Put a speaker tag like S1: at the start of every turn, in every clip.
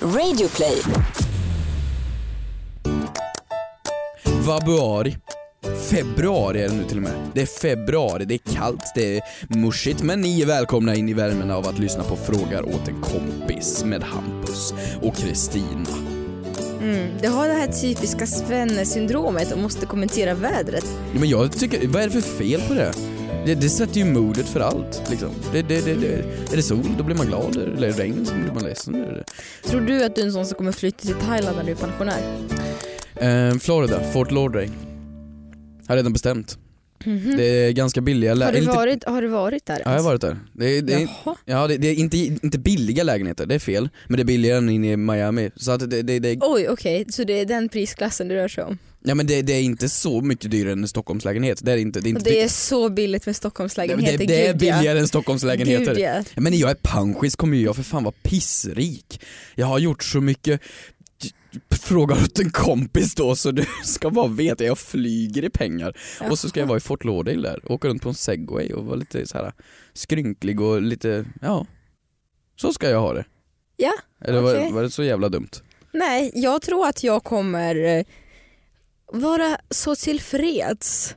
S1: Radioplay.
S2: Februari. Februari är det nu till och med. Det är februari, det är kallt, det är muschigt men ni är välkomna in i värmen av att lyssna på Frågar åt en kompis med Hampus och Kristina.
S3: Mm, det har det här typiska Svenne-syndromet och måste kommentera vädret.
S2: Ja, Men jag tycker, vad är det för fel på det? Det, det sätter ju modet för allt liksom. Det, det, det, det, är det sol, då blir man glad. Eller är det regn, så blir man ledsen. Är det-
S3: Tror du att du är en sån som kommer flytta till Thailand när du är pensionär?
S2: Eh, Florida, Fort Lauderdale. Har redan bestämt. Det är ganska billiga lä-
S3: Mhm. Har du
S2: lite-
S3: varit, har du varit där?
S2: Ja, jag har varit där. Det, är- det, är-
S3: Jaha.
S2: Ja, det, det är inte, inte billiga lägenheter, det är fel. Men det är billigare än inne i Miami. Så att det, det, det,
S3: Oj, okej, så det är den prisklassen det rör sig om.
S2: ja, men det, det är inte så mycket dyrare än en Stockholmslägenhet. Det är inte, det är
S3: Och
S2: inte
S3: det är
S2: bi-
S3: så billigt med
S2: det,
S3: Stockholmslägenheter,
S2: det, det är
S3: gud, ja.
S2: billigare än
S3: Gud,
S2: Stockholmslägenheter.
S3: ja.
S2: Ja, Men jag är panschis kommer ju jag för fan vara pissrik. Jag har gjort så mycket frågar åt en kompis då så du ska bara veta, jag flyger i pengar. Och så ska jag vara i Fort Lauderdale där, åka runt på en segway och vara lite så här skrynklig och lite, ja. Så ska jag ha det.
S3: Ja,
S2: Eller var,
S3: okej.
S2: var det så jävla dumt?
S3: Nej, jag tror att jag kommer eh, vara så tillfreds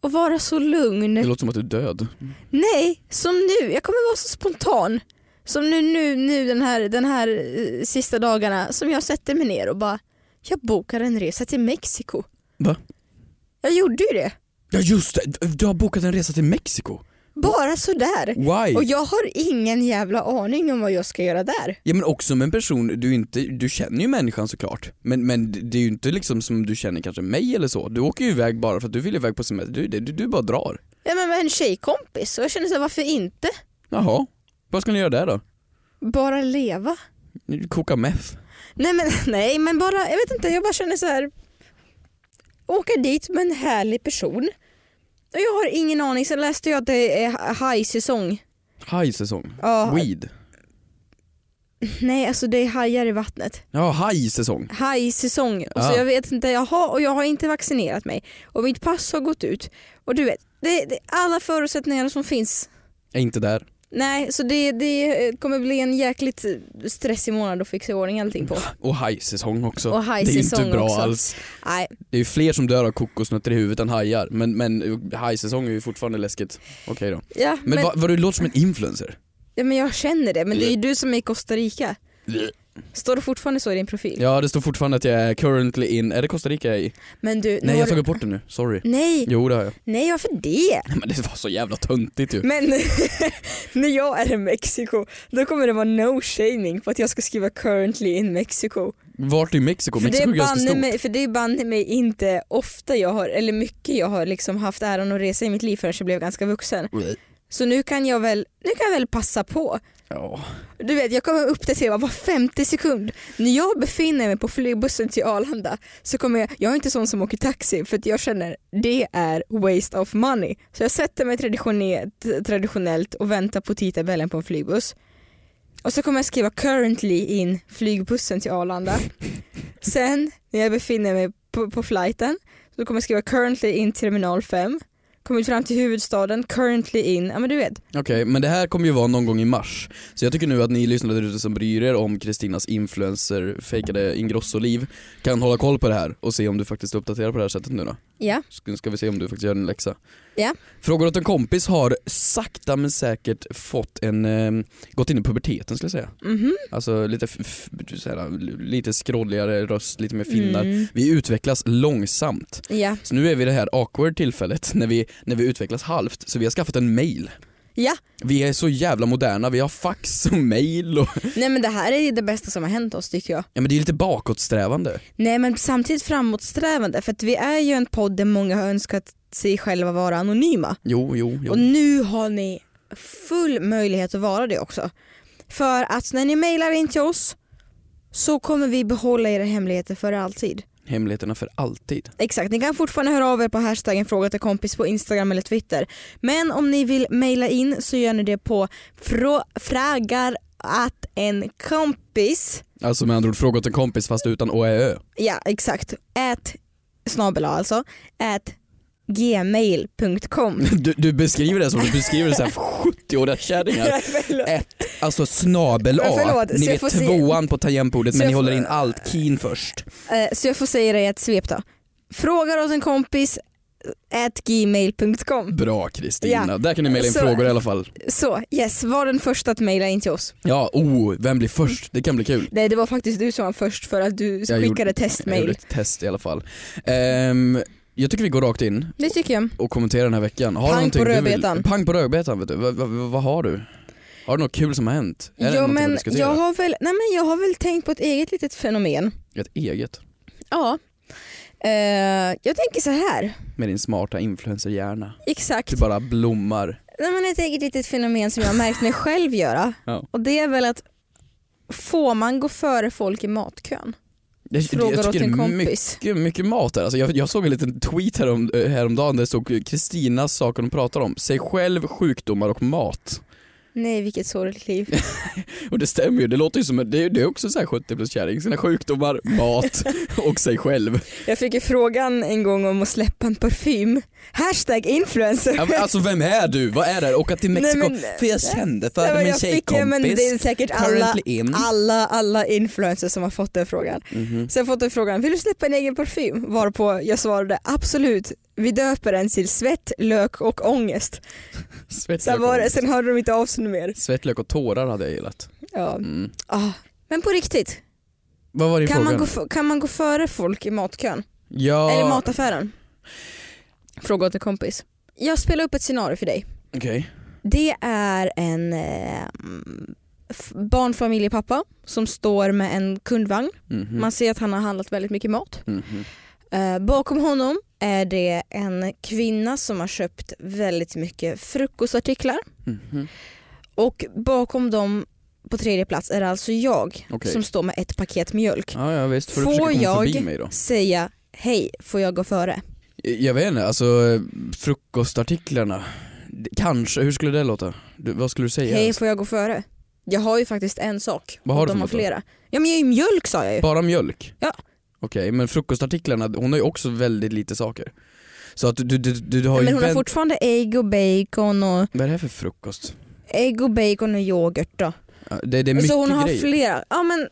S3: och vara så lugn.
S2: Det låter som att du är död.
S3: Nej, som nu. Jag kommer vara så spontan. Som nu, nu, nu den här, den här eh, sista dagarna som jag sätter mig ner och bara, jag bokar en resa till Mexiko.
S2: Va?
S3: Jag gjorde ju det.
S2: Ja just det, du har bokat en resa till Mexiko.
S3: Bara sådär.
S2: Why?
S3: Och jag har ingen jävla aning om vad jag ska göra där.
S2: Ja men också med en person, du, inte, du känner ju människan såklart. Men, men det är ju inte liksom som du känner kanske mig eller så. Du åker ju iväg bara för att du vill iväg på semester, du, du, du bara drar.
S3: Ja men med en tjejkompis och jag känner såhär, varför inte?
S2: Jaha, vad ska ni göra där då?
S3: Bara leva.
S2: Koka meth?
S3: Nej men, nej, men bara, jag vet inte, jag bara känner så här. Åka dit med en härlig person. Och jag har ingen aning, sen läste jag att det är hajsäsong.
S2: Hajsäsong?
S3: Ja,
S2: Weed?
S3: nej alltså det är hajar i vattnet.
S2: Ja, hajsäsong.
S3: Hajsäsong. Och så
S2: Ja.
S3: jag vet inte, jaha, och jag har inte vaccinerat mig. Och mitt pass har gått ut. Och du vet, det, det är alla förutsättningar som finns.
S2: Är inte där.
S3: Nej, så det, det kommer bli en jäkligt stressig månad att fixa i ordning allting på.
S2: Och hajsäsong också.
S3: Och
S2: det är
S3: hajsäsong
S2: inte bra
S3: också.
S2: alls.
S3: Nej,
S2: Det är ju fler som dör av kokosnötter i huvudet än hajar. Men, men hajsäsong är ju fortfarande läskigt. Okej då.
S3: ja,
S2: Men, men... Vad, vad du låter som en influencer.
S3: Ja, men jag känner det, men det är ju du som är i Costa Rica. Står det fortfarande så i din profil?
S2: Ja det står fortfarande att jag är currently in, är det Costa Rica jag är i?
S3: Men du, nu
S2: Nej jag
S3: har
S2: har
S3: du...
S2: tagit bort det nu, sorry.
S3: Nej,
S2: Jo det har jag.
S3: nej varför det?
S2: Men det var så jävla töntigt ju.
S3: Men när jag är i Mexiko då kommer det vara no shaming på att jag ska skriva currently in Mexico.
S2: Vart i Mexiko?
S3: för, det
S2: Mexiko är ganska
S3: banne
S2: stort.
S3: mig, för det är banne mig inte ofta jag har, eller mycket jag har liksom haft äran att resa i mitt liv förrän jag blev ganska vuxen. Så nu kan jag väl, nu kan jag väl passa på.
S2: Ja.
S3: Du vet, jag kommer uppdatera var 50 sekund. När jag befinner mig på flygbussen till Arlanda så kommer jag, jag är inte sån som åker taxi för att jag känner det är waste of money. Så jag sätter mig traditione- t- traditionellt och väntar på tidtabellen på en flygbuss. Och så kommer jag skriva currently in flygbussen till Arlanda. Sen när jag befinner mig på, på flighten så kommer jag skriva currently in terminal 5. Kommit fram till huvudstaden, currently in, ja men du vet.
S2: Okej, men det här kommer ju vara någon gång i mars. Så jag tycker nu att ni lyssnare där ute som bryr er om Kristinas influencer fejkade Ingrosso-liv kan hålla koll på det här och se om du faktiskt uppdaterar på det här sättet nu då.
S3: Ja.
S2: Ska, ska vi se om du faktiskt gör din läxa.
S3: Ja.
S2: Frågor åt en kompis har sakta men säkert fått en, eh, gått in i puberteten skulle jag säga.
S3: Mhm.
S2: Alltså lite, f- f- såhär, lite skrådligare röst, lite mer finnar.
S3: Mm.
S2: Vi utvecklas långsamt.
S3: Ja.
S2: Så nu är vi i det här awkward tillfället när vi, när vi utvecklas halvt, så vi har skaffat en mail.
S3: Ja,
S2: Vi är så jävla moderna, vi har fax och mail och...
S3: nej men det här är ju det bästa som har hänt oss tycker jag.
S2: Ja men det är lite bakåtsträvande.
S3: Nej men samtidigt framåtsträvande för att vi är ju en podd där många har önskat sig själva vara anonyma.
S2: Jo, jo, jo.
S3: Och nu har ni full möjlighet att vara det också. För att när ni mejlar in till oss så kommer vi behålla era hemligheter för alltid.
S2: Hemligheterna för alltid.
S3: Exakt, ni kan fortfarande höra av er på hashtaggen fråga till kompis på Instagram eller Twitter. Men om ni vill mejla in så gör ni det på frå- fragar att en kompis
S2: Alltså med andra ord, fråga åt en kompis fast utan OEÖ.
S3: Ja exakt. Ät snabel alltså. Ät gmail.com.
S2: Du, du beskriver det som du beskriver så här 70-åriga kärringar. Ett, alltså snabel A.
S3: Men förlåt, så
S2: ni
S3: jag
S2: vet
S3: får se-
S2: tvåan på tangentbordet
S3: Så
S2: men
S3: jag
S2: ni håller
S3: får-
S2: in allt keen först.
S3: Eh, Så jag får säga det i ett svep då. Frågar åt en kompis eh, at gmail.com.
S2: Bra Kristina,
S3: Ja.
S2: där kan ni mejla in
S3: Så-
S2: frågor i alla fall.
S3: Så yes, var den första att mejla in till oss.
S2: Ja, oh, vem blir först? Det kan bli kul.
S3: Nej det var faktiskt du som var först för att du skickade
S2: gjorde- Jag gjorde
S3: testmail.
S2: ett test i alla fall. Ehm, jag tycker vi går rakt in
S3: Det tycker jag.
S2: och kommenterar den här veckan. Har du
S3: Pang
S2: någonting
S3: på
S2: du vill-
S3: rödbetan.
S2: Pang på rödbetan. vet du. Vad- vad- vad har du? Har du något kul som har hänt? Är det
S3: Jo,
S2: något
S3: men
S2: att diskutera?
S3: jag, har väl, nej, men jag har väl tänkt på ett eget litet fenomen.
S2: Ett eget?
S3: Ja. Eh, jag tänker så här.
S2: Med din smarta influencerhjärna.
S3: Exakt.
S2: Du bara blommar.
S3: Nej, men ett eget litet fenomen som jag har märkt mig själv göra.
S2: Ja.
S3: Och det är väl att får man gå före folk i matkön?
S2: Jag,
S3: Frågar
S2: jag
S3: åt
S2: tycker
S3: en
S2: det är
S3: kompis.
S2: mycket, mycket mat här. Alltså jag, jag såg en liten tweet härom, eh, häromdagen där det stod Kristinas saker hon pratar om. Sig själv, sjukdomar och mat.
S3: Nej vilket sorgligt liv.
S2: Och det stämmer ju, det låter ju som, det, är- det är också så här 70 plus kärring. Sina sjukdomar, mat och sig själv.
S3: Jag fick ju frågan en gång om att släppa en parfym. Hashtag influencer.
S2: Ja, men alltså vem är du? Vad är det här? Åka till Mexiko?
S3: Nej, men-
S2: för jag kände för
S3: Nej, men
S2: min
S3: jag fick- ja, men det är
S2: tjejkompis.
S3: säkert alla,
S2: Currently Mm. in.
S3: alla, alla influencers som har fått den frågan.
S2: Mhm.
S3: Sen fått den frågan, vill du släppa en egen parfym? Varpå jag svarade absolut, vi döper den till svett, lök och ångest. Sen,
S2: Svettlök,
S3: var det,
S2: och,
S3: sen hörde de inte av sig mer.
S2: svettlök och tårar hade jag gillat.
S3: Ja.
S2: Mm.
S3: Ah. Men på riktigt,
S2: Vad var din
S3: kan
S2: fråga?
S3: man, gå, f- kan man gå före folk i matkön?
S2: ja,
S3: Eller mataffären? Fråga åt en kompis. Jag spelar upp ett scenario för dig.
S2: Okej.
S3: Det är en eh, mm, f- barnfamiljepappa som står med en kundvagn.
S2: Mhm.
S3: Man ser att han har handlat väldigt mycket mat.
S2: Mhm.
S3: Eh, bakom honom är det en kvinna som har köpt väldigt mycket frukostartiklar.
S2: Mhm.
S3: Och bakom dem på tredje plats är det alltså jag
S2: Okej.
S3: som står med ett paket mjölk.
S2: Ja, ja visst, får, du
S3: Får
S2: försöka komma
S3: jag-
S2: förbi mig då?
S3: Säga hej, får jag gå före?
S2: Jag vet inte, alltså eh, frukostartiklarna. Det- Kanske, hur skulle det låta? Du, vad skulle du säga?
S3: Hej, får jag gå före? Jag har ju faktiskt en sak.
S2: Vad har
S3: och
S2: du
S3: de
S2: för
S3: har
S2: något då?
S3: flera. Ja men jag är ju mjölk sa jag ju.
S2: Bara mjölk?
S3: Ja.
S2: Okej, men frukostartiklarna, hon har ju också väldigt lite saker. Så att du, du, du, du har
S3: Men
S2: ju
S3: hon har
S2: vänt-
S3: fortfarande ägg och bacon och
S2: Vad är det här för frukost?
S3: ägg och bacon och yoghurt då.
S2: Ja, Det, det är mycket
S3: så hon har
S2: grejer.
S3: flera, ja men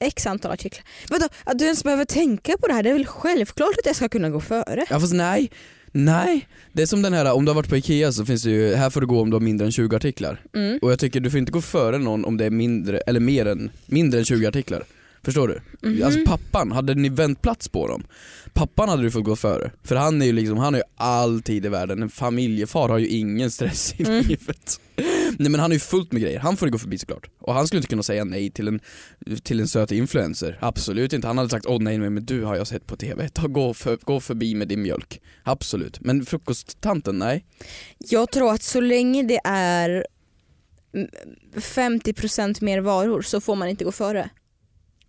S3: x antal artiklar. Vadå, att du ens behöver tänka på det här, det är väl självklart att jag ska kunna gå före?
S2: Ja fast nej, nej. Det är som den här, om du har varit på IKEA så finns det ju, här får du gå om du har mindre än 20 artiklar.
S3: Mm.
S2: Och jag tycker du får inte gå före någon om det är mindre, eller mer än, mindre än 20 artiklar. Förstår du?
S3: Mhm.
S2: Alltså pappan, hade ni vänt plats på dem? Pappan hade du fått gå före. För han är ju liksom, han har ju all tid i världen. En familjefar har ju ingen stress i
S3: Mm.
S2: livet. Nej men han är ju fullt med grejer, han får ju gå förbi såklart. Och han skulle inte kunna säga nej till en, till en söt influencer. Absolut inte, han hade sagt åh nej men du har jag sett på TV, Ta, gå, för, gå förbi med din mjölk. Absolut, men frukosttanten, nej.
S3: Jag tror att så länge det är mm, 50% mer varor så får man inte gå före.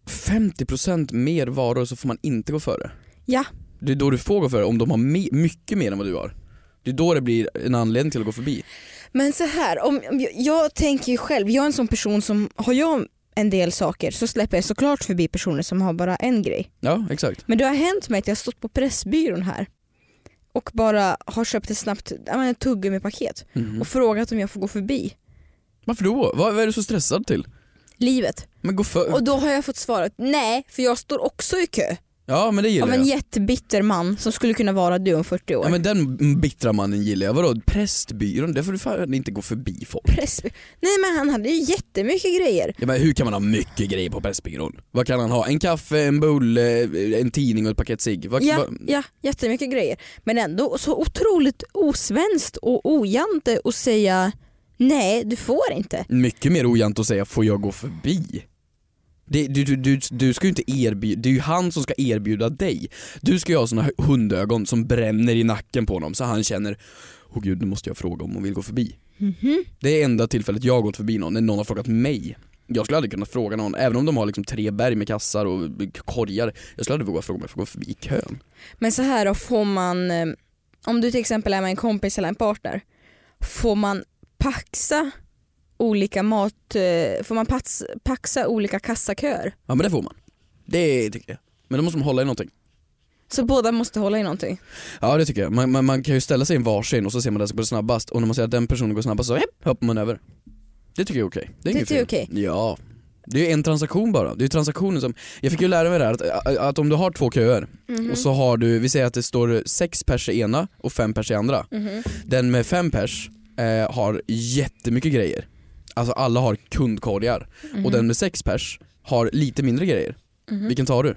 S2: 50% mer varor så får man inte gå före.
S3: Ja.
S2: Det är då du får gå före, om de har me- mycket mer än vad du har. Det är då det blir en anledning till att gå förbi.
S3: Men så här, om, om jag, jag tänker ju själv, jag är en sån person som, har jag en del saker så släpper jag såklart förbi personer som har bara en grej.
S2: Ja, exakt.
S3: Men det har hänt mig att jag har stått på Pressbyrån här och bara har köpt ett snabbt ja, men ett tuggummi-paket
S2: Mhm.
S3: och frågat om jag får gå förbi
S2: Varför då? Vad, vad är du så stressad till?
S3: livet.
S2: Men gå före.
S3: Och då har jag fått svaret nej, för jag står också i kö
S2: Ja men det gillar
S3: av
S2: jag.
S3: en jättebitter man som skulle kunna vara du om 40 år.
S2: Ja men den bittra mannen gillar jag. Vadå prästbyrån? Där får du fan inte gå förbi folk.
S3: Pressby- nej men han hade ju jättemycket grejer.
S2: Ja, men hur kan man ha mycket grejer på Pressbyrån? Vad kan han ha? En kaffe, en bulle, en tidning och ett paket cigg? Vad-
S3: Ja,
S2: vad-
S3: ja, jättemycket grejer. Men ändå så otroligt osvenskt och ojante att säga nej, du får inte.
S2: Mycket mer ojant att säga får jag gå förbi? Det, du, du, du, du ska ju inte erbjuda, det är ju han som ska erbjuda dig. Du ska ju ha såna hundögon som bränner i nacken på honom så han känner Åh gud, nu måste jag fråga om hon vill gå förbi.
S3: Mhm.
S2: Det är enda tillfället jag har gått förbi någon, när någon har frågat mig. Jag skulle aldrig kunna fråga någon, även om de har liksom tre berg med kassar och korgar. Jag skulle aldrig våga fråga om jag får gå förbi i kön.
S3: Men så här då, får man, eh, om du till exempel är med en kompis eller en partner, får man paxa olika mat, eh, får man pax, paxa olika kassaköer?
S2: Ja men det får man. Det tycker jag. Men då måste man hålla i någonting.
S3: Så båda måste hålla i någonting.
S2: Ja det tycker jag. Man, man, man kan ju ställa sig i en varsin och så ser man den som går snabbast och när man ser att den personen går snabbast så hepp, hoppar man över. Det tycker jag är okej. Det är inget
S3: Det är
S2: fel.
S3: okej.
S2: Ja. Det är ju en transaktion bara. Det är ju transaktionen som, jag fick ju lära mig det här att, att om du har två köer
S3: Mhm.
S2: och så har du, vi säger att det står sex pers i ena och fem pers i andra.
S3: Mhm.
S2: Den med fem pers eh, har jättemycket grejer. Alltså alla har kundkorgar och den med sex pers har lite mindre grejer.
S3: Mhm.
S2: Vilken tar du?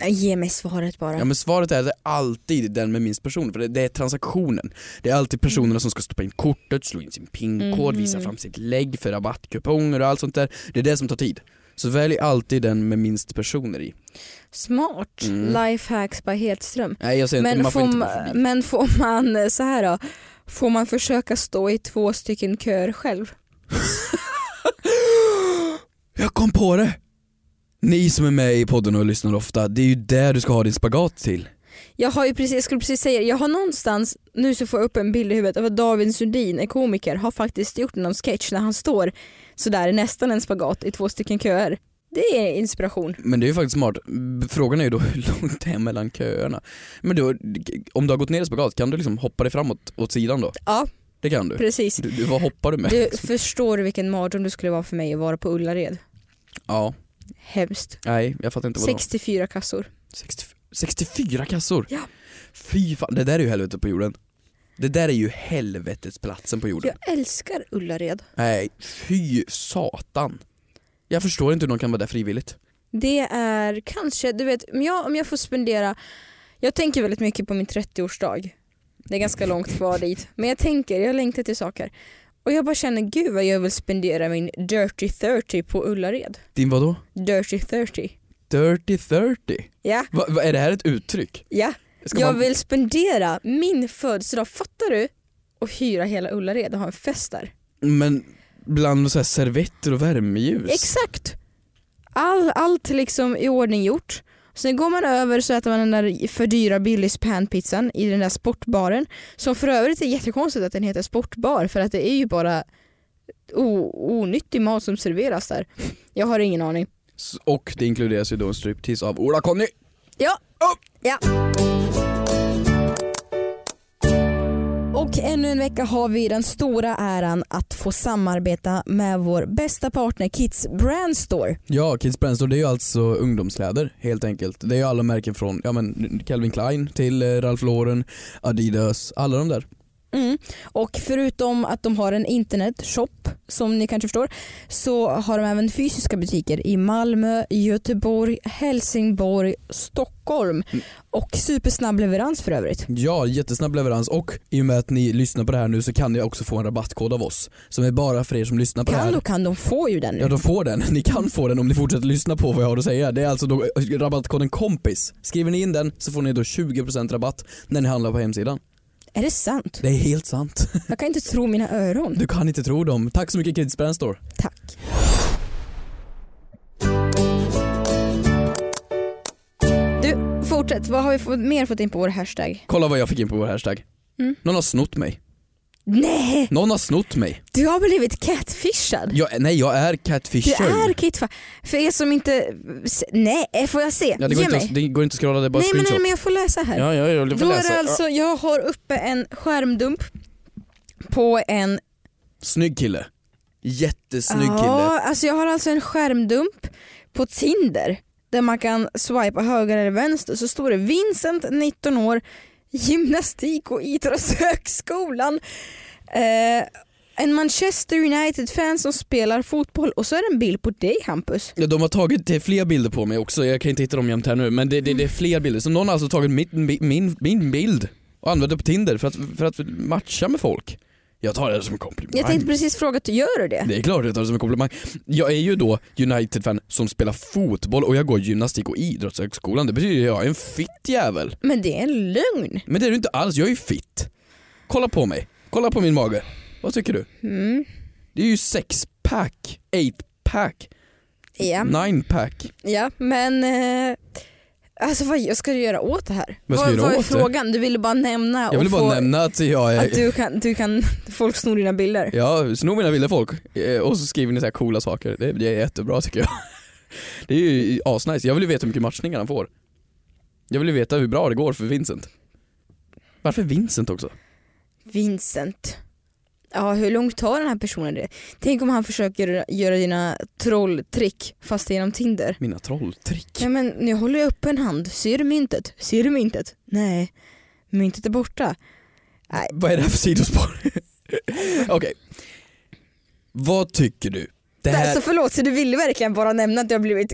S3: Nej, Ge mig svaret bara.
S2: Ja men svaret är att det är alltid den med minst personer, för det, det är transaktionen. Det är alltid
S3: Mm.
S2: personerna som ska stoppa in kortet, slå in sin pinkod,
S3: Mhm.
S2: visa fram sitt lägg för rabattkuponger och allt sånt där. Det är det som tar tid. Så välj alltid den med minst personer i.
S3: Smart.
S2: Mm.
S3: Lifehacks by Hedström.
S2: Nej jag säger inte,
S3: Men
S2: Eh, man får,
S3: får,
S2: inte
S3: ma-
S2: gå förbi.
S3: men får man eh, så här då? Får man försöka stå i två stycken köer själv?
S2: Jag kom på det! Ni som är med i podden och lyssnar ofta, det är ju där du ska ha din spagat till.
S3: Jag har ju precis, jag skulle precis säga det. jag har någonstans, nu så får jag upp en bild i huvudet av att David Sundin, en komiker, har faktiskt gjort någon sketch när han står sådär nästan en spagat i två stycken köer. Det är inspiration.
S2: Men det är ju faktiskt smart. B- Frågan är ju då hur långt det är mellan köerna. Men då, om du har gått ner i spagat, kan du liksom hoppa dig framåt åt sidan då?
S3: Ja,
S2: Det kan du.
S3: precis.
S2: du, du vad hoppar du med?
S3: Du förstår vilken mardröm det skulle vara för mig att vara på Ullared.
S2: Ja,
S3: Hemskt.
S2: nej jag fattar inte vad det var.
S3: 64 kassor.
S2: 60 64 kassor?
S3: Ja.
S2: Fy fan, det där är ju helvetet på jorden. Det där är ju helvetets platsen på jorden.
S3: Jag älskar Ullared.
S2: Nej, fy satan. Jag förstår inte hur någon kan vara där frivilligt.
S3: Det är kanske, du vet, om jag, om jag får spendera, jag tänker väldigt mycket på min 30-årsdag. Det är ganska långt kvar dit. Men jag tänker, jag längtar till saker. Och jag bara känner, gud vad jag vill spendera min Dirty 30 på Ullared.
S2: Din vadå?
S3: Dirty 30.
S2: Dirty 30?
S3: Ja,
S2: Va, va, är det här ett uttryck?
S3: ja.
S2: Ska
S3: jag
S2: man-
S3: vill spendera min födelsedag, fattar du? Och hyra hela Ullared och ha en fest där.
S2: Men bland så här servetter och värmeljus?
S3: Exakt! All, allt liksom i ordning gjort. Sen går man över så äter man den där för dyra Billys panpizzan i den där sportbaren. Som för övrigt är jättekonstigt att den heter sportbar för att det är ju bara o- onyttig mat som serveras där. Jag har ingen aning.
S2: S- och det inkluderas ju då en striptease av Ola-Conny.
S3: Ja.
S2: Upp!
S3: ja. Och ännu en vecka har vi den stora äran att få samarbeta med vår bästa partner Kids Brand Store.
S2: Ja, Kids Brand Store det är ju alltså ungdomskläder helt enkelt. Det är ju alla märken från ja, men Calvin Klein till eh, Ralph Lauren, Adidas, alla de där.
S3: Mm. Och förutom att de har en internetshop som ni kanske förstår så har de även fysiska butiker i Malmö, Göteborg, Helsingborg, Stockholm
S2: Mm.
S3: och supersnabb leverans för övrigt.
S2: Ja, jättesnabb leverans och i och med att ni lyssnar på det här nu så kan ni också få en rabattkod av oss som är bara för er som lyssnar på det
S3: Kan
S2: här.
S3: och kan, de får ju den nu.
S2: Ja, de får den. Ni kan få den om ni fortsätter lyssna på vad jag har att säga. Det är alltså då rabattkoden KOMPIS. Skriver ni in den så får ni då 20% rabatt när ni handlar på hemsidan.
S3: Är det sant?
S2: Det är helt sant.
S3: Jag kan inte tro mina öron.
S2: Du kan inte tro dem. Tack så mycket Kids Brand Store.
S3: Tack. Du, fortsätt. Vad har vi fått, mer fått in på vår hashtag?
S2: Kolla vad jag fick in på vår hashtag.
S3: Mm.
S2: Någon har snott mig.
S3: Nej,
S2: Någon har snott mig.
S3: du har blivit catfishad.
S2: Jag, nej jag är
S3: Du
S2: catfisher.
S3: är Kitfa. För er som inte... Nej, eh, får jag se?
S2: Ja, det, går
S3: Ge
S2: inte
S3: mig.
S2: att, det går inte att scrolla, det är bara
S3: nej, men, nej
S2: screenshot.
S3: men jag får läsa här.
S2: ja, ja, jag får
S3: Då är
S2: läsa.
S3: det alltså, jag har uppe en skärmdump på en...
S2: Ja. Snygg kille. Jättesnygg kille.
S3: Ja, alltså jag har alltså en skärmdump på Tinder där man kan swipa höger eller vänster så står det Vincent 19 år gymnastik och idrottshögskolan. Eh, en Manchester United-fan som spelar fotboll och så är det en bild på dig Hampus.
S2: Ja, de har tagit eh, fler bilder på mig också, jag kan inte hitta dem jämt här nu men det, det, det är fler bilder. Så någon har alltså tagit mitt, mi- min, min bild och använt det på Tinder för att, för att matcha med folk. Jag tar det som en komplimang.
S3: Jag tänkte precis fråga, gör du det?
S2: Det är klart jag tar det som en komplimang. Jag är ju då United-fan som spelar fotboll och jag går gymnastik och idrottshögskolan. Det betyder ju att jag är en fitt jävel.
S3: Men det är en lögn.
S2: Men det är du inte alls, jag är ju fit. Kolla på mig, kolla på min mage. Vad tycker du?
S3: Mm.
S2: Det är ju sexpack, eightpack,
S3: Ja.
S2: ninepack.
S3: ja, men eh, alltså vad jag ska du göra åt det här?
S2: Vad ska jag göra
S3: vad är
S2: åt det?
S3: frågan? Du ville bara nämna
S2: Jag vill
S3: och
S2: bara
S3: få,
S2: nämna att jag är...
S3: att du kan, du kan, folk snor dina bilder.
S2: Ja, snor mina bilder folk eh, och så skriver ni så här coola saker. Det, det är jättebra tycker jag. Det är ju asnice. Jag vill ju veta hur mycket matchningar han får. Jag vill ju veta hur bra det går för Vincent. Varför Vincent också?
S3: Vincent. Ja, hur långt tar den här personen det? Tänk om han försöker göra dina trolltrick fast genom Tinder.
S2: Mina trolltrick.
S3: Ja, men nu håller jag upp en hand. Ser du myntet? Ser du myntet? Nej, myntet är borta.
S2: Vad är det här för sidospår? Okej. Vad tycker du? Det
S3: Här...
S2: här...
S3: Alltså förlåt, så du ville verkligen bara nämna att jag blivit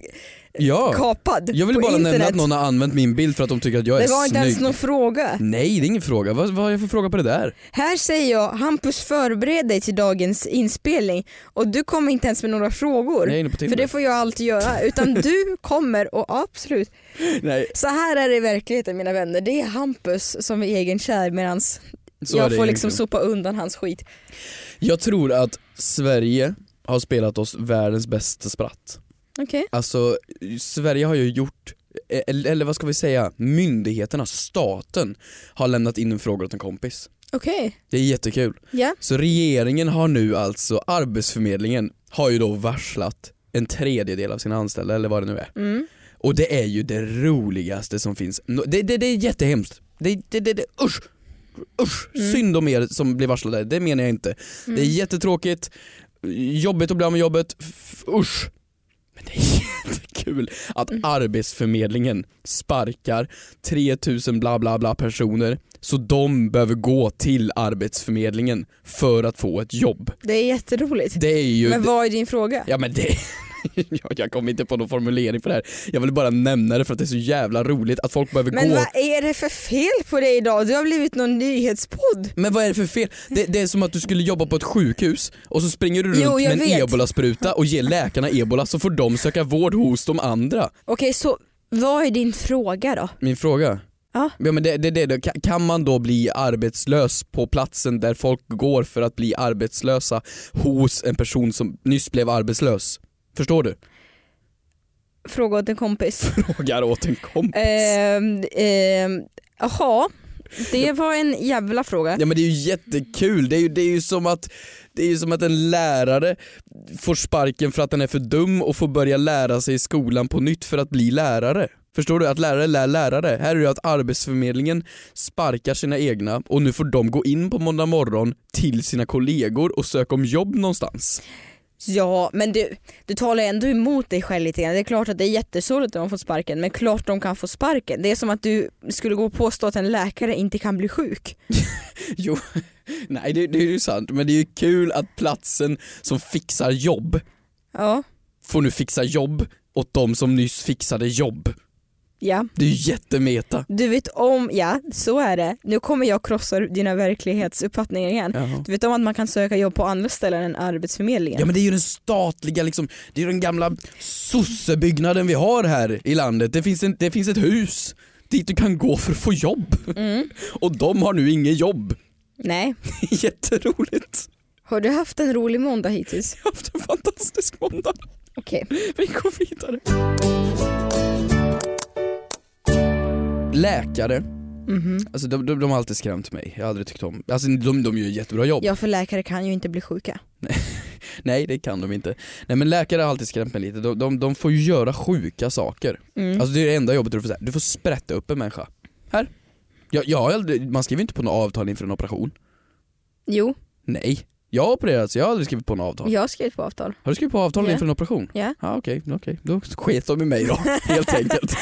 S2: Ja,
S3: kapad
S2: jag ville
S3: på
S2: bara
S3: internet?
S2: nämna att någon har använt min bild för att de tycker att jag är
S3: det var inte ens
S2: snygg.
S3: någon fråga.
S2: Nej, det är ingen fråga. Vad, vad har jag för fråga på det där?
S3: Här säger jag, Hampus förbered dig till dagens inspelning och du kommer inte ens med några frågor.
S2: Jag är inne på
S3: för
S2: Tinder.
S3: det får jag alltid göra. Utan du kommer och absolut.
S2: Nej,
S3: Så här är det i verkligheten mina vänner. Det är Hampus som är egen kär medan
S2: så är
S3: jag
S2: det
S3: får liksom
S2: egentligen.
S3: sopa undan hans skit.
S2: Jag tror att Sverige har spelat oss världens bästa spratt.
S3: Okej.
S2: Alltså, Sverige har ju gjort, eller, eller vad ska vi säga, myndigheterna, staten har lämnat in en fråga åt en kompis.
S3: Okej.
S2: Det är jättekul.
S3: Ja.
S2: Så regeringen har nu alltså, Arbetsförmedlingen har ju då varslat en tredjedel av sina anställda eller vad det nu är.
S3: Mm.
S2: Och det är ju det roligaste som finns. Nå- Det, det, det är jättehemskt. Det, det, det, det, usch! Usch!
S3: Mm.
S2: Synd om er som blir varslade, det menar jag inte. Det är jättetråkigt, jobbigt att bli av med jobbet, F- usch! Men det är jättekul att
S3: Mm.
S2: Arbetsförmedlingen sparkar 3000 bla bla bla personer så de behöver gå till Arbetsförmedlingen för att få ett jobb.
S3: Det är jätteroligt.
S2: Det är ju...
S3: Men vad är din fråga?
S2: Ja men det... Jag, jag kom inte på någon formulering för det här. Jag ville bara nämna det för att det är så jävla roligt att folk behöver
S3: Men
S2: gå.
S3: vad är det för fel på dig idag? Du har blivit någon nyhetspodd.
S2: Men vad är det för fel? Det, det är som att du skulle jobba på ett sjukhus och så springer du runt
S3: Jo, jag
S2: med en
S3: vet.
S2: ebola-spruta och ger läkarna ebola så får de söka vård hos de andra.
S3: Okej, så vad är din fråga då?
S2: Min fråga?
S3: Ja.
S2: Ja, men det, det, det, det. Ka- Kan man då bli arbetslös på platsen där folk går för att bli arbetslösa hos en person som nyss blev arbetslös? Förstår du?
S3: Fråga åt en kompis.
S2: Frågar åt en kompis.
S3: Ehm, ehm, Jaha, det var en jävla fråga.
S2: Ja men det är ju jättekul, det är ju, det är ju som att det är ju som att en lärare får sparken för att den är för dum och får börja lära sig i skolan på nytt för att bli lärare. Förstår du? Att lärare lär lärare. Här är det att arbetsförmedlingen sparkar sina egna och nu får de gå in på måndag morgon till sina kollegor och söka om jobb någonstans.
S3: Ja, men du, du talar ändå emot dig själv lite grann. Det är klart att det är jättesorgligt om de får sparken, men klart de kan få sparken. Det är som att du skulle gå och påstå att en läkare inte kan bli sjuk.
S2: Jo, nej det, det är ju sant men det är ju kul att platsen som fixar jobb
S3: Ja,
S2: får nu fixa jobb åt de som nyss fixade jobb.
S3: ja.
S2: Det är ju jättemeta.
S3: Du vet om, ja, så är det. Nu kommer jag krossa dina verklighetsuppfattningar igen.
S2: Jaha.
S3: Du vet om att man kan söka jobb på andra ställen än Arbetsförmedlingen?
S2: Ja men det är ju den statliga liksom, det är ju den gamla sossebyggnaden vi har här i landet. Det finns, en, det finns ett hus dit du kan gå för att få jobb.
S3: Mm.
S2: Och de har nu inget jobb.
S3: Nej.
S2: Jätteroligt.
S3: Har du haft en rolig måndag hittills?
S2: Jag har haft en fantastisk måndag.
S3: Okej.
S2: Vi går vidare. Läkare,
S3: Mhm.
S2: alltså de, de, de har alltid skrämt mig. Jag har aldrig tyckt om, alltså de, de gör ett jättebra jobb.
S3: Ja, för läkare kan ju inte bli sjuka.
S2: Nej det kan de inte. Nej men läkare har alltid skrämt mig lite. De, de, de får ju göra sjuka saker.
S3: Mm.
S2: Alltså det är det enda jobbet du får säga. Du får sprätta upp en människa. Här. Jag, jag har aldrig, man skriver inte på något avtal inför en operation.
S3: jo,
S2: Nej. Jag har opererat så jag har aldrig skrivit på något avtal.
S3: jag har skrivit på avtal.
S2: Har du skrivit på avtal
S3: Ja.
S2: inför en operation?
S3: Ja.
S2: Ja okej, okej. Då sket de i mig då helt enkelt.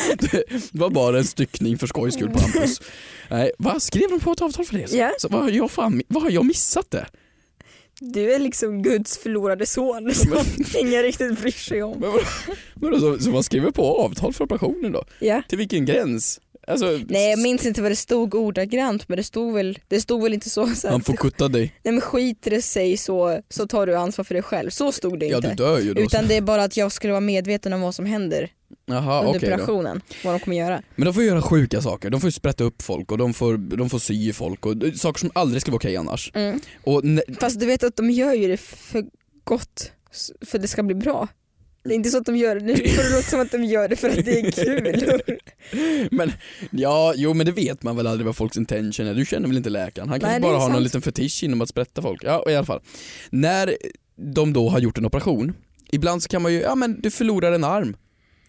S2: Det var bara en styckning för skojs skull på Hampus. Nej, vad Skrev de på ett avtal för det?
S3: Ja.
S2: Så vad har jag, fan, vad har jag missat det?
S3: Du är liksom Guds förlorade son som ingen riktigt bryr sig om.
S2: Men, vadå- men alltså, så man skriver på avtal för operationen då?
S3: Ja.
S2: Till vilken gräns? Alltså,
S3: Nej jag minns inte vad det stod ordagrant men det stod väl, det stod väl inte så, så här,
S2: han får kutta dig.
S3: nej men skiter det sig så, så tar du ansvar för dig själv. Så stod det
S2: Ja
S3: inte.
S2: du dör ju då.
S3: Utan det är bara att jag skulle vara medveten om vad som händer
S2: Jaha,
S3: under
S2: okej då.
S3: operationen. Vad de kommer göra.
S2: Men de får göra sjuka saker, de får ju sprätta upp folk och de får, de får sy i folk och eh, saker som aldrig skulle vara okej annars.
S3: Mm.
S2: Och ne-
S3: Fast du vet att de gör ju det för gott, s- för det ska bli bra. Det är inte så att de gör det, nu får det låta som att de gör det för att det är kul.
S2: men ja, jo men det vet man väl aldrig vad folks intention är, du känner väl inte läkaren? Han kanske
S3: Nej, det
S2: bara
S3: är
S2: har någon
S3: sant.
S2: liten fetisch inom att sprätta folk. Ja, i alla fall. När de då har gjort en operation Ibland så kan man ju, ja men du förlorar en arm.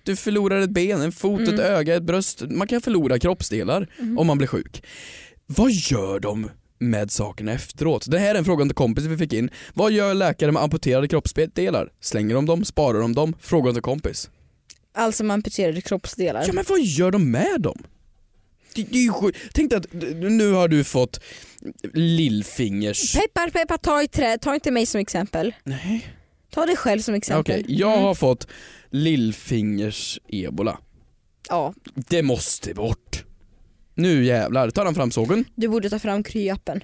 S2: Du förlorar ett ben, en fot,
S3: Mm.
S2: ett öga, ett bröst. Man kan förlora kroppsdelar
S3: Mm.
S2: om man blir sjuk. Vad gör de med sakerna efteråt? Det här är en fråga till kompis vi fick in. Vad gör läkare med amputerade kroppsdelar? Slänger de dem? Sparar de dem? Fråga till kompis.
S3: Alltså man amputerade kroppsdelar.
S2: Ja men vad gör de med dem? Det, det är ju sjukt. Tänk dig att d- nu har du fått lillfingers...
S3: Peppar, peppar, ta i trä. Ta inte mig som exempel.
S2: Nej.
S3: Ta dig själv som exempel.
S2: Okej, jag
S3: Mm.
S2: har fått lillfingers ebola.
S3: Ja,
S2: Det måste bort. Nu jävlar, tar han fram sågen.
S3: du borde ta fram kryappen.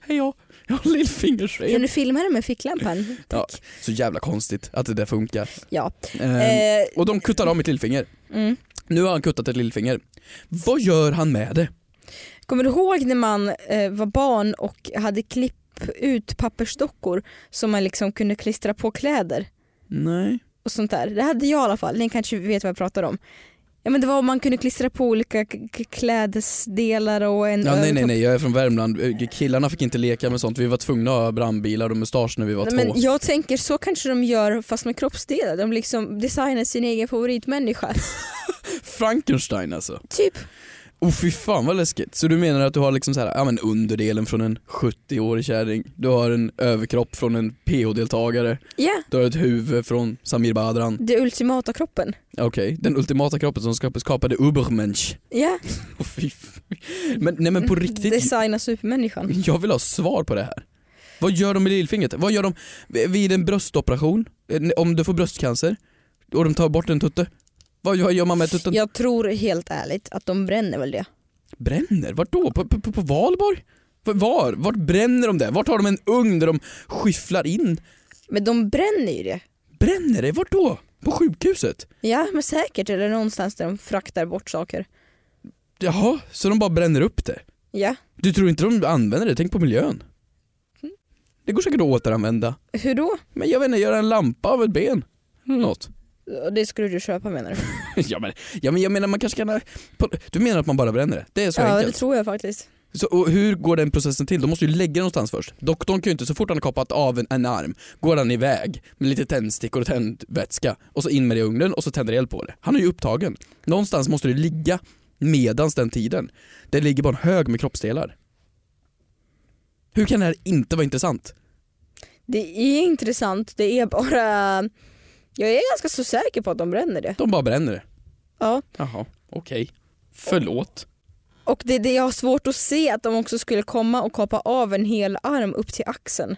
S2: Hej ja, jag har lillfingers
S3: Kan du filma det med ficklampan?
S2: Ja.
S3: Tack.
S2: Så jävla konstigt att det där funkar.
S3: Ja.
S2: Ehm,
S3: Eh,
S2: och de kuttade av mitt lillfinger.
S3: mm.
S2: Nu har han kuttat ett lillfinger. Vad gör han med det?
S3: Kommer du ihåg när man eh, var barn och hade klipp ut pappersdockor som man liksom kunde klistra på kläder
S2: Nej.
S3: och sånt där. Det hade jag i alla fall, ni kanske vet vad jag pratar om. Ja men det var om man kunde klistra på olika k- k- klädesdelar och en
S2: Ja, nej nej
S3: överkropp.
S2: nej, jag är från Värmland. Eh, Killarna fick inte leka med sånt. Vi var tvungna att ha brandbilar och mustasch när vi var
S3: Nej,
S2: två.
S3: Men jag tänker så kanske de gör fast med kroppsdelar. De liksom designar sin egen favoritmänniska.
S2: Frankenstein alltså.
S3: typ.
S2: Oh fy fan vad läskigt. Så du menar att du har liksom så här, ja men underdelen från en 70-årig kärring, du har en överkropp från en PH-deltagare,
S3: Ja,
S2: du har ett huvud från Samir Badran.
S3: det ultimata kroppen.
S2: Okej, den ultimata kroppen som skap- skapade Ubermensch.
S3: Ja,
S2: Oh, fy fan. Men nej men på
S3: Mm,
S2: riktigt,
S3: designa supermänniskan.
S2: jag vill ha svar på det här. Vad gör de med lillfingret? Vad gör de vid en bröstoperation? Eh, Om du får bröstcancer och de tar bort en tutte? Vad vad gör man med tutten?
S3: Jag tror helt ärligt att de bränner väl det.
S2: Bränner? Vart då? På, på, på, på valborg? V- Var? Vart bränner de det? Vart har de en ugn där de skyfflar in?
S3: Men de bränner ju det.
S2: Bränner det? Vart då? På sjukhuset?
S3: Ja men säkert är det någonstans där de fraktar bort saker.
S2: Jaha, så de bara bränner upp det?
S3: Ja.
S2: Du tror inte de använder det? Tänk på miljön. Det går säkert att återanvända.
S3: Hur då?
S2: Men jag vet inte, göra en lampa av ett ben? Eller något.
S3: Det skulle du köpa menar du?
S2: ja, men, ja men jag menar man kanske kan... ha- på- Du menar att man bara bränner det? Det är så
S3: ja det
S2: enkelt?
S3: tror jag faktiskt.
S2: Så, och hur går den processen till? De måste ju lägga det någonstans först. Doktorn kan ju inte, så fort han har kapat av en, en arm, går han iväg med lite tändstickor och tändvätska och så in med det i ugnen och så tänder det eld på det. Han är ju upptagen. Någonstans måste det ligga medans den tiden. Det ligger bara en hög med kroppsdelar. Hur kan det här inte vara intressant?
S3: Det är intressant, det är bara... Jag är ganska så säker på att de bränner det.
S2: De bara bränner det.
S3: Ja.
S2: Jaha, okej. Förlåt.
S3: Och det, det jag har svårt att se att de också skulle komma och kapa av en hel arm upp till axeln.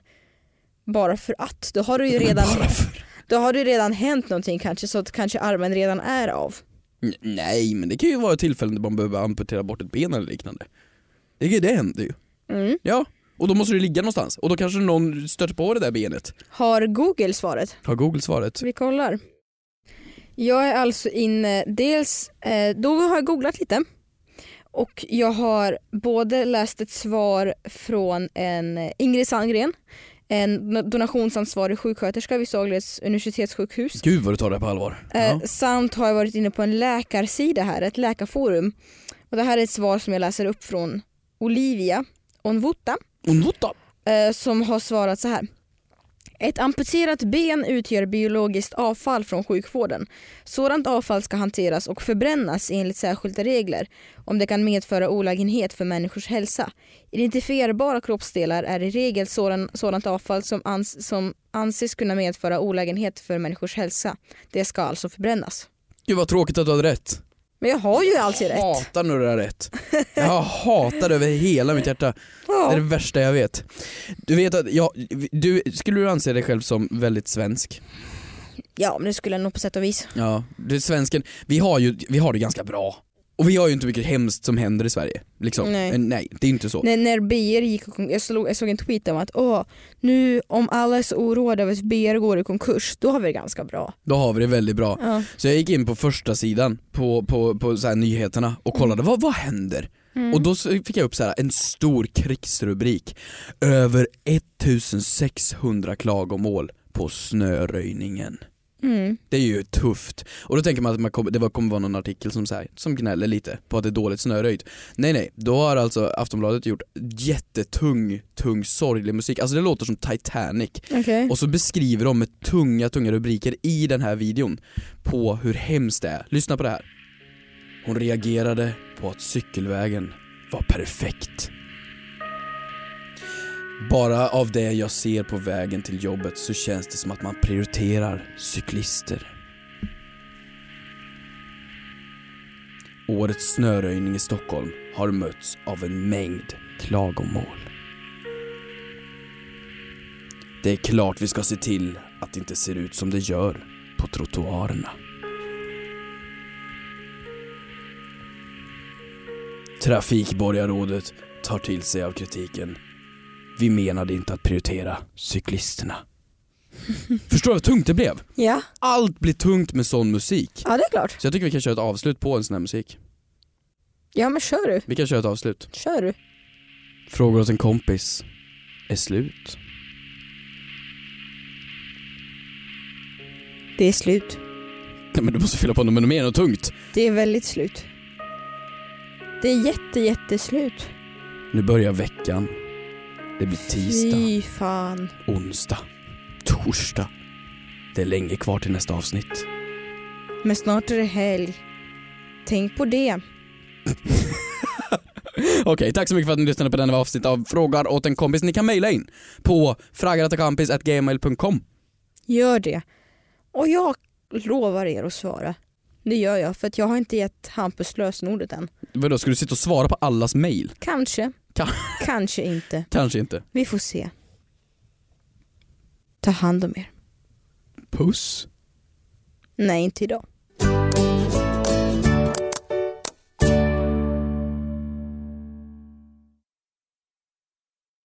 S3: Bara för att. Då har det ju redan,
S2: Bara för...
S3: då har det ju redan hänt någonting kanske så att kanske armen redan är av.
S2: N- Nej, men det kan ju vara tillfällen där man behöver amputera bort ett ben eller liknande. Det, det händer ju.
S3: Mm.
S2: Ja, och då måste det ligga någonstans. Och då kanske någon stöter på det där benet.
S3: Har Google svaret?
S2: Har Google svaret?
S3: Vi kollar. Jag är alltså inne, dels eh, då har jag googlat lite och jag har både läst ett svar från en eh, Ingrid Sandgren, en donationsansvarig sjuksköterska vid Sahlgrenska universitetssjukhus
S2: Gud vad du tar det här på allvar.
S3: Eh,
S2: Ja.
S3: Samt har jag varit inne på en läkarsida här, ett läkarforum. Och det här är ett svar som jag läser upp från Olivia Onvuta
S2: Och något då?
S3: eh, som har svarat så här. Ett amputerat ben utgör biologiskt avfall från sjukvården. Sådant avfall ska hanteras och förbrännas enligt särskilda regler om det kan medföra olägenhet för människors hälsa. Identifierbara kroppsdelar är i regel sådan, sådant avfall som, ans, som anses kunna medföra olägenhet för människors hälsa. Det ska alltså förbrännas.
S2: Gud vad tråkigt att du hade rätt.
S3: Men jag har ju alltid
S2: jag
S3: rätt.
S2: hatar när du har rätt. Jag hatar det över hela mitt hjärta. Det är det
S3: Ja.
S2: värsta jag vet. Du vet att jag, du, skulle du anse dig själv som väldigt svensk?
S3: ja, men det skulle jag nog på sätt och vis.
S2: Ja, det är svensken, vi har ju, vi har det ganska bra. Och vi har ju inte mycket hemskt som händer i Sverige. Liksom.
S3: Nej.
S2: Eh, Nej, det är inte så.
S3: När, när BR gick och kon- jag, slog, jag såg en tweet om att Åh, nu om alla är så oroade över att BR går i konkurs, då har vi det ganska bra.
S2: Då har vi det väldigt bra.
S3: Ja.
S2: Så jag gick in på första sidan på, på, på så här nyheterna
S3: Mm.
S2: och kollade vad, vad händer? Och då så fick jag upp så här en stor krigsrubrik. Över 1600 klagomål på snöröjningen.
S3: Mm.
S2: Det är ju tufft. Och då tänker man att man kommer- det var- kommer vara någon artikel som, så här, som gnäller lite på att det är dåligt snöröjt. Nej nej, då har alltså Aftonbladet gjort jättetung, tung, sorglig musik. Alltså det låter som Titanic.
S3: Okej.
S2: Och så beskriver de med tunga, tunga rubriker i den här videon på hur hemskt det är. Lyssna på det här. Hon reagerade på att cykelvägen var perfekt. Bara av det jag ser på vägen till jobbet så känns det som att man prioriterar cyklister. Årets snöröjning i Stockholm har mötts av en mängd klagomål. Det är klart vi ska se till att det inte ser ut som det gör på trottoarerna. Trafikborgarrådet tar till sig av kritiken. Vi menade inte att prioritera cyklisterna. Förstår du vad tungt det blev?
S3: Ja.
S2: Allt blir tungt med sån musik.
S3: ja, det är klart.
S2: Så jag tycker vi kan köra ett avslut på en sån här musik.
S3: Ja men kör du.
S2: Vi kan köra ett avslut.
S3: Kör du.
S2: Frågor åt en kompis är slut.
S3: Det är slut.
S2: Nej men du måste fylla på något mer och tungt.
S3: Det är väldigt slut. Det är jätte, jätteslut.
S2: Nu börjar veckan. Det blir tisdag,
S3: Fy fan.
S2: onsdag, torsdag. Det är länge kvar till nästa avsnitt.
S3: Men snart är det helg. Tänk på det.
S2: Okej, tack så mycket för att ni lyssnade på denna avsnitt av Frågar åt en kompis. Ni kan mejla in på fraggaratakompis.gmail.com.
S3: Gör det. Och jag lovar er att svara. Det gör jag för att jag har inte gett Hampus lösenordet än.
S2: Vadå, ska du sitta och svara på allas mejl?
S3: Kanske.
S2: Ka-
S3: Kanske inte.
S2: Kanske inte.
S3: Vi får se. Ta hand om er.
S2: Puss.
S3: Nej, inte idag.